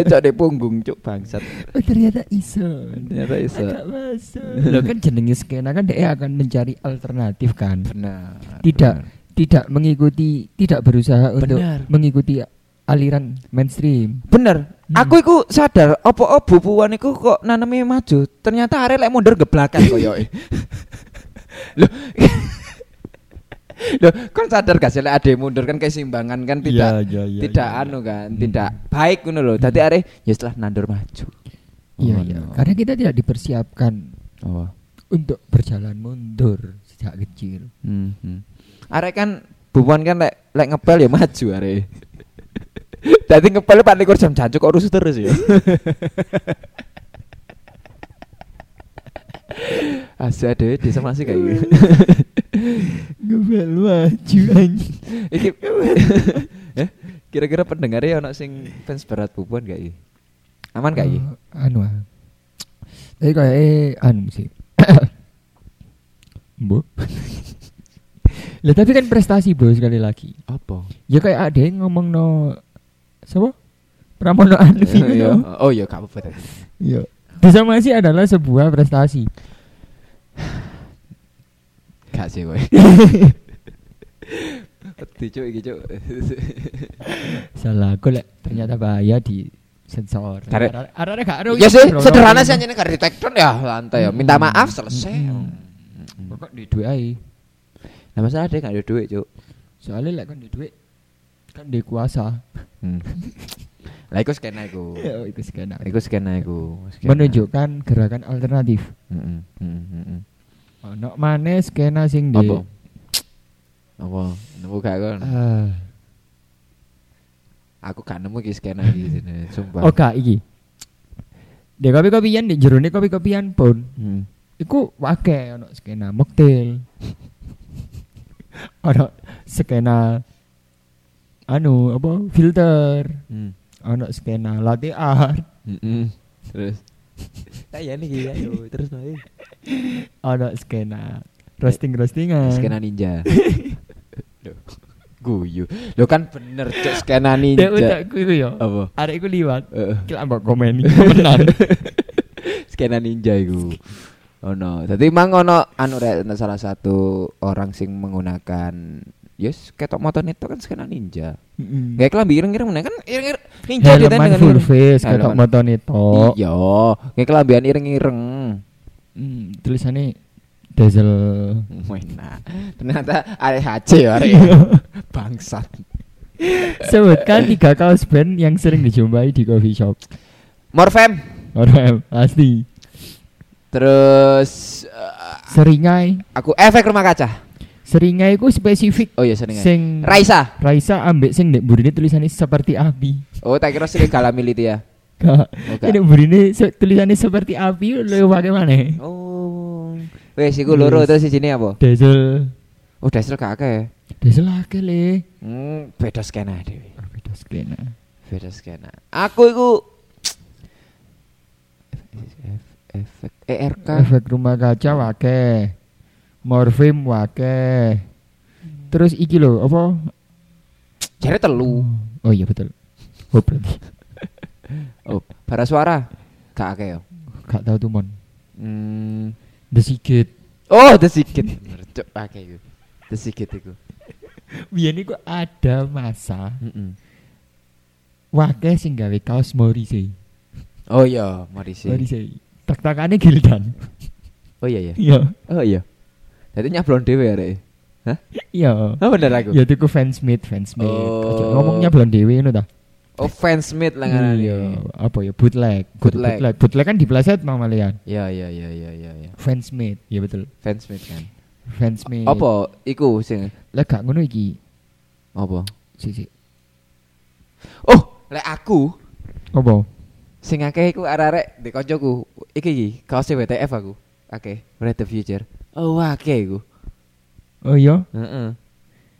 encok di punggung cuk bangsat.
Oh ternyata iso.
Ternyata iso.
Agak masuk. Loh kan jenenge skena kan dia akan mencari alternatif kan.
Benar.
Tidak tidak mengikuti tidak berusaha untuk
Benar.
mengikuti aliran mainstream.
Bener.
Hmm.
Aku iku sadar opo-opo puan iku kok nanemi maju. Ternyata arek lek mundur geblakan koyoke. Loh. Loh, kan sadar gak sih lek ade mundur kan keseimbangan kan tidak
Iya, iya, iya,
tidak
iya. Hmm.
anu kan, tidak baik ngono lho. Dadi arek ya setelah nandur maju.
Iya
Oh,
iya.
no.
Karena kita tidak dipersiapkan
Oh.
untuk berjalan mundur sejak kecil.
Hmm. hmm. Arek kan bubuan kan lek lek ngepel ya maju arek. Dadi ngepel paling kur jam jancuk kok rusuh terus ya. Asa deh, desa masih kayak gitu.
Ngebel maju anjing.
Iki Eh, kira-kira pendengarnya ya ono sing fans berat bubuan gak iki? Aman gak iki?
anu. ah. Tapi kayak eh anu sih. Bu. Lah tapi kan prestasi bro sekali lagi.
Hmm, Apa?
Ya kayak ada yang ngomong no siapa? Pramono Anfi
Eh, iya.
no.
Oh iya, gak apa-apa. tadi.
Iya. Disamasi adalah sebuah prestasi.
Gak sih kowe. Wedi cuk iki cuk.
Salah, aku lek ternyata bahaya di sensor.
Tarik.
Arek- arek gak ada
Ya
yang
sih,
bro. Hmm.
sederhana sih anjene gak di take down ya, lantai ya. Minta maaf selesai.
Mm-mm. Pokok di duit ae.
Nah masalah dia gak ada duit cuk
Soalnya lek kan di duit kan di kuasa.
Hmm. Lah iku skena iku
itu skena.
Iku skena iku skena. Hmm,
Menunjukkan gerakan alternatif.
Mm-mm, mm-mm, mm-mm.
Ono maneh skena sing di
Apa? Apa? Nemu gak kon?
Ah.
Aku gak nemu iki skena iki sini Sumpah
Oh gak iki. Di kopi-kopian di jerone kopi-kopian pun
Mm.
Iku wake ono skena mocktail. ono skena anu apa filter,
Mm.
ono skena latte art,
Mm-mm. hmm, Terus Kayak nih ya terus lagi
ono skena roasting-roastingan.
Skena ninja Loh, Guyu Lo kan bener cuk skena
Dek
ninja
utakku iku yo.
Apa?
Arek iku liwat.
Heeh.
Kira mbok komen iki benar.
skena ninja iku. Ono. Dadi mang ono anu rek ono salah satu orang sing menggunakan yes ketok motor itu kan skena ninja. Kayak kelambi ireng-ireng meneh kan ireng-ireng ninja dia
Helman
dengan
full
ireng.
face Oh.
Helman.
ketok motone tok.
Iya, kayak kelambian ireng-ireng.
Hmm, tulisane Dazzle.
Wena. Ternyata arek HC ya arek. Bangsat.
Sebutkan tiga kaos band yang sering dijumpai di coffee shop.
Morfem.
Orang pasti.
Terus eh,
Seringai.
aku efek rumah kaca.
Seringai ku spesifik.
Oh iya sering. ya.
Sing
Raisa.
Raisa ambek sing nek burine tulisannya seperti api.
Oh, tak kira sering galamiliti ya.
Kak.
Oh, gak.
Nek burine se- tulisannya seperti api lho pakai mana?
Oh. Wes iku loro
Yes.
terus sini apa?
Dazzle.
Oh, Dazzle gak akeh.
Dazzle akeh le.
Hmm, beda skena dhewe.
Beda skena.
Beda skena. Aku iku efek
E
ERK.
Efek rumah kaca wake. Morfim wake. Terus iki lho apa?
Jare telu.
Oh iya betul. Oh berarti
Oh, bara suara gak akeh yo.
gak tahu tuh mon.
Hmm.
The Secret.
Oh, the sikit. Cuk akeh iku. The sikit iku.
Biyen iku ada masa
Mm-mm.
wake sing gawe kaos Morrissey.
Oh iya, Morrissey.
Morrissey. Tak takane Gildan.
Oh
Oh iya iya.
Iya.
Oh iya. Jadi nyablon dhewe arek. Hah?
Iya.
Oh bener aku.
Ya tuku fans made, fans made.
Oh.
Ojo Ngomongnya belum dewe ngono ta.
Oh fans made langanan
Iya,
yo.
Apa ya bootleg. Kudu
Bootleg.
bootleg. Bootleg kan dipleset mau malian.
Ya ya ya ya ya ya.
Fans made. Ya betul.
Fans made kan.
Fans made.
Apa iku sing
Lah gak ngono iki.
apa?
Sik sik.
Oh, lek aku
Apa?
sing akeh iku arek-arek di koncoku. Iki iki kaos WTF aku. Akeh, Red the Future. Oh, akeh iku.
Oh iya.
Heeh.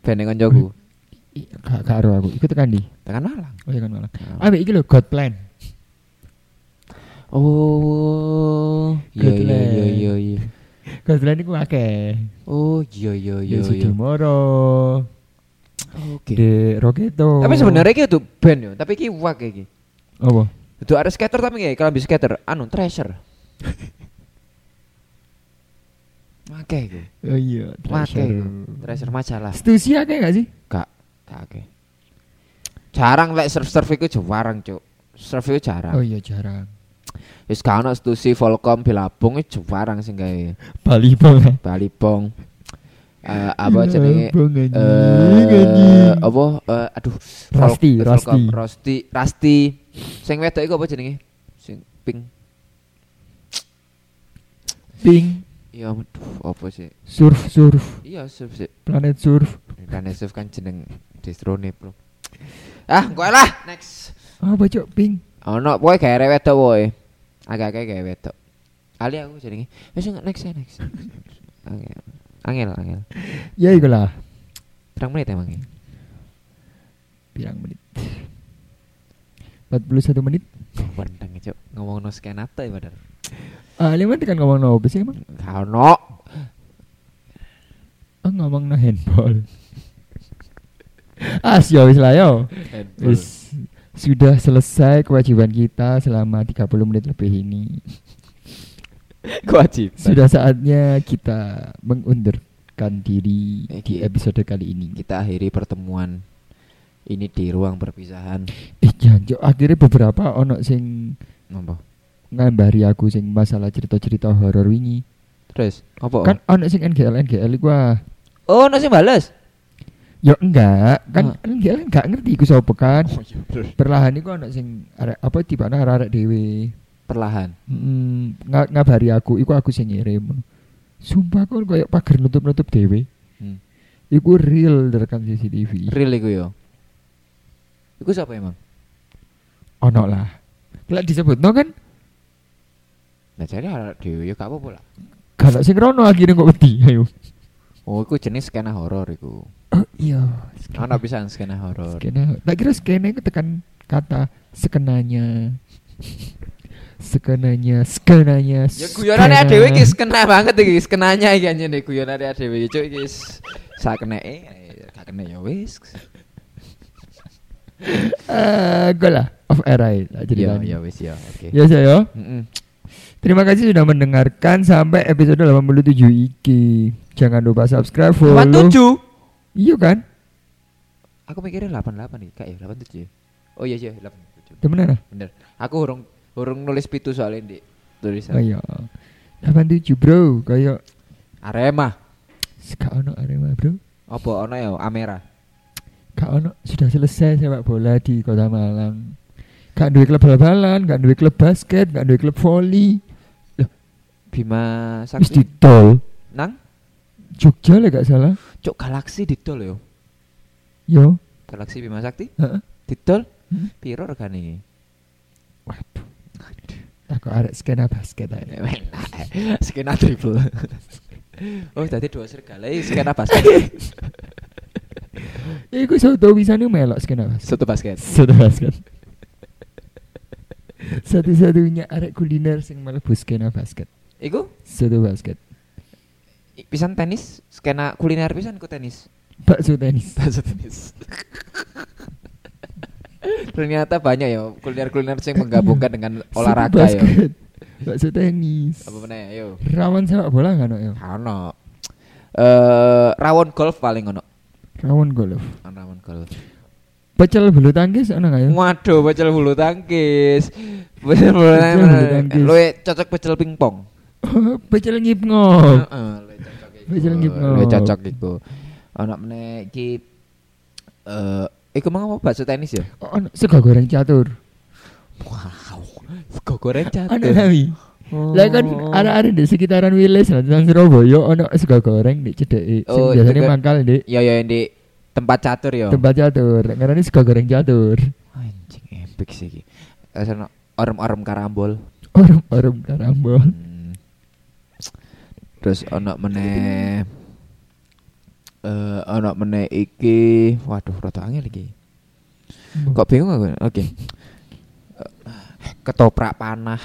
Ben ning koncoku.
I- Gak gak karo aku. Iku tekan di.
Tekan Malang.
Oh iya kan malah. Ah, iki lho God Plan.
Oh, iya iya iya iya iya.
God Plan iku akeh.
Oh, iya iya iya
Yo
iya.
Sudimoro,
Oke.
De Rogeto.
Tapi sebenarnya iki itu band yo, tapi iki wak iki.
apa?
Itu ada skater tapi kayak kalau bisa skater, anu treasure. Oke, iku.
Oh iya,
Oke,
Treasure.
treasure majalah.
Stussy akeh gak sih?
Kak, kak oke. Jarang lek surf surf iku jarang, Cuk. Surf iku
Oh
jarang.
iya jarang.
Wis gak ono stusi Volcom Bilabong iku jarang sing gawe
Bali banget.
Bali Pong. Eh, apa jenenge?
Banget. Iya,
Eh, apa eh, aduh eh,
Rusty,
Volcom,
Rusty.
Rusty Rusty sing wedok iku apa jenenge sing pink
Ping,
iya aduh apa sih
surf, surf,
iya surf sih
planet surf.
kan surf kan jeneng distrone bro ah kowe lah next
Apa cok ping?
ono kowe gawe arek wedok kowe agak-agak gawe wedok ali aku jenenge wis nggak, next ya next angel angel angel
Ya iku lah.
terang menit emangnya
Pirang menit. 41 menit.
Wendeng cuk ngomong no skenata ya padahal
Ah, uh, tekan ngomong no apa sih emang?
gak ono
Oh, ngomong no handball. ah, sih wis lah yo. Wis sudah selesai kewajiban kita selama 30 menit lebih ini.
kewajiban
Sudah saatnya kita mengundurkan diri di
Oke.
episode kali ini.
kita akhiri pertemuan ini di ruang perpisahan
Eh, jangan Cok. akhirnya beberapa ono sing
apa
ngambari aku sing masalah cerita-cerita horor wingi.
terus apa
Kan ono sing NGL NGL gua.
oh nasi balas
Ya ah. enggak, kan
Ah.
NGL enggak ngerti iku sapa kan.
iya bener.
Perlahan iku ono sing arek apa tibana arek-arek dhewe.
perlahan
Hmm, nga- ngabari aku, iku aku sing ngirim. Sumpah kok kayak pagar nutup-nutup dhewe.
hmm.
Iku real direkam CCTV.
real iku yo iku siapa emang
Ono lah. Lah disebutno kan
nah jadi harap dewi yo gak apa-apa lah
kalau sing rono akhirnya kok wedi ayo.
oh iku jenis skena horor iku
Oh iya.
ono pisan skena horor
Skena. Tak kira skena itu tekan kata sekenanya. sekenanya, skenanya.
ya guyonane
skena.
dhewe iki skena banget iki skenanya iki anjen iki guyonane dhewe iki cuk iki s- sakeneke eh, gak kena ya wis
Eh, gue lah of air right, lah
ya
ceritanya.
ya wis ya oke
Ya saya.
Mm-mm.
Terima kasih sudah mendengarkan sampai episode 87 iki. Jangan lupa subscribe,
Kapan
follow.
tujuh?
Iya kan?
Aku mikirnya 88 nih, kayak 87 ya. Oh iya iya 87.
Temenan ah?
Bener. Aku urung urung nulis pitu soalnya di
Oh
tulisan.
iya. 87 bro, kayak
Arema.
gak ono Arema bro.
Apa ono ya Amera?
Gak ono sudah selesai sepak bola di Kota Malang. Gak duwe klub bal-balan, gak duwe klub basket, gak duwe klub volley.
Bima
Wis
Sakti.
ditol.
Nang
Jogja lah gak salah.
Cuk Galaksi didol yo.
Yo.
Galaksi Bima Sakti
Heeh.
didol
Hmm.
piro regane?
Waduh. Tak kok arek skena basket ae.
Enak. Skena triple. oh, tadi dua serigala ini skena basket.
Iku soto wisane melok skena basket.
Satu basket.
Soto basket. Satu-satunya arek kuliner sing mlebu skena basket.
Iku
Soto basket.
i- pisan tenis, skena kuliner pisan ku tenis.
Bakso tenis.
Bahasa tenis. Ternyata banyak ya kuliner-kuliner yang menggabungkan dengan olahraga ya.
basket. Bakso tenis.
Apa meneh yo?
Rawan sepak bola nggak no yo?
Ono. Eh rawon golf paling ono.
Rawan golf.
Ono Rawon golf.
Pecel bulu tangkis ono ya? nggak yo?
Waduh, pecel bulu tangkis. Pecel bulu
Pecel bulu
tangkis.
tangkis.
Lu cocok pecel pingpong.
Bacil ngip-ngop.
Heeh, luwih cocok iku.
Bajul ngipno.
Luwih cocok iku. Ana meneh iki eh iku mau apa bakso tenis ya?
Oh, Ono sego goreng catur.
Wow. Sego goreng
Ono
catur. Oh.
nawi. Lah kan arah-arah di sekitaran Wilis lah tentang Surabaya ono sego goreng di cedeki. Sing
Oh,
biasanya
juga-
mangkal di
Ya ya yang di tempat catur ya.
tempat catur. Ngarani sego goreng catur.
Anjing epic sih iki. Sono orem-orem karambol.
Orang-orang karambol.
Hmm. Terus ono meneh eh ono meneh iki. Waduh, rada angel iki. Kok bingung aku? Oke. Ketoprak panah.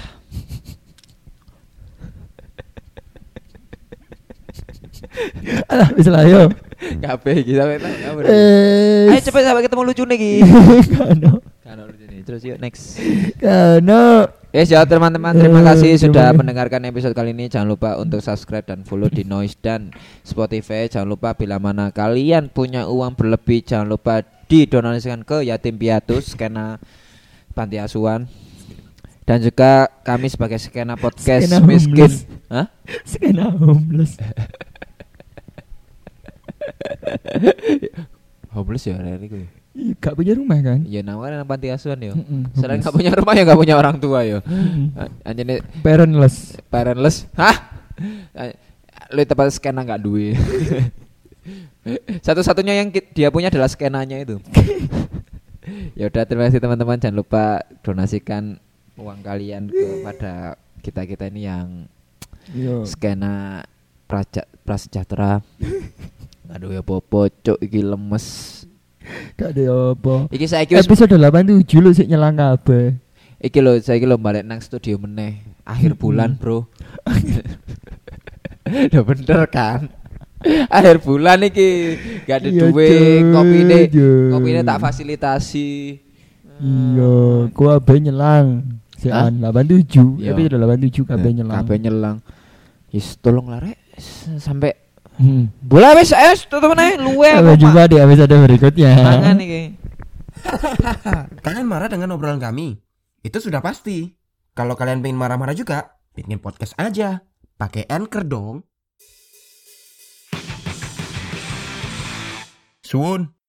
Alah wis lah yo.
Kabeh iki sampe tak kabeh.
Eh.
Ya, Ayo cepet sampai ketemu lucu nih iki.
Kano.
Kan lucu nih. Terus yuk next.
Kano.
Yes ya teman-teman
Eh,
terima kasih sudah
gimana?
mendengarkan episode kali ini jangan lupa untuk subscribe dan follow di Noise dan Spotify jangan lupa bila mana kalian punya uang berlebih jangan lupa didonasikan ke yatim piatu skena panti asuhan dan juga kami sebagai skena podcast
Skena
miskin
homeless.
Hah?
Sekena homeless.
homeless ya hari ini
Ih, Iya, Gak punya rumah kan?
ya namanya panti asuhan ya
Mm-mm,
selain
homeless.
nggak punya rumah ya nggak punya orang tua ya
Mm-mm.
anjir
Parentless.
parentless hah Eh, lu tempat skena nggak duit satu-satunya yang ki- dia punya adalah skenanya itu ya udah terima kasih teman-teman jangan lupa donasikan uang kalian kepada kita kita ini yang Iya.
Yo.
skena praja, prasejahtera aduh ya popo cok iki lemes
Gak ada apa.
iki saya kira
Episode 87 lu sih nyelang kabeh.
iki lo saya kira balik nang studio meneh
Hmm.
akhir bulan bro udah bener kan akhir bulan iki gak ada
Iya,
duit
Cuk,
kopi ini
iya.
kopi ini tak fasilitasi Ah.
Iya, gua abe nyelang. kan, Sean 87,
Iya.
episode 87 kabeh nyelang.
Hmm. kabeh nyelang Yes, tolong lah rek S- sampai
Hmm.
bola wis es tutup meneh luwe
Sampai jumpa di episode berikutnya.
tangan iki
Kalian marah dengan obrolan kami? Itu sudah pasti. Kalau kalian pengen marah-marah juga, bikin podcast aja. Pakai Anchor dong. Suun.